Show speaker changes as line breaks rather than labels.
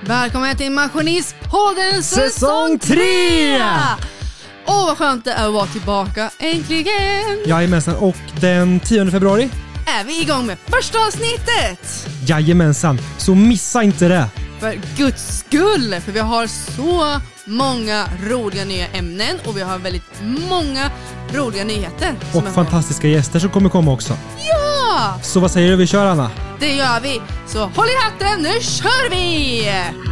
Välkommen till Maskinistpodden
Säsong tre!
Åh vad skönt det är att vara tillbaka äntligen!
Jajamensan, och den 10 februari?
Är vi igång med första avsnittet!
Jajamensan, så missa inte det!
För guds skull! För vi har så många roliga nya ämnen och vi har väldigt många roliga nyheter. som
Och
är på gång.
fantastiska gäster som kommer komma också.
Ja!
Så vad säger du vi kör Anna?
Det gör vi! Så håll i hatten, nu kör vi!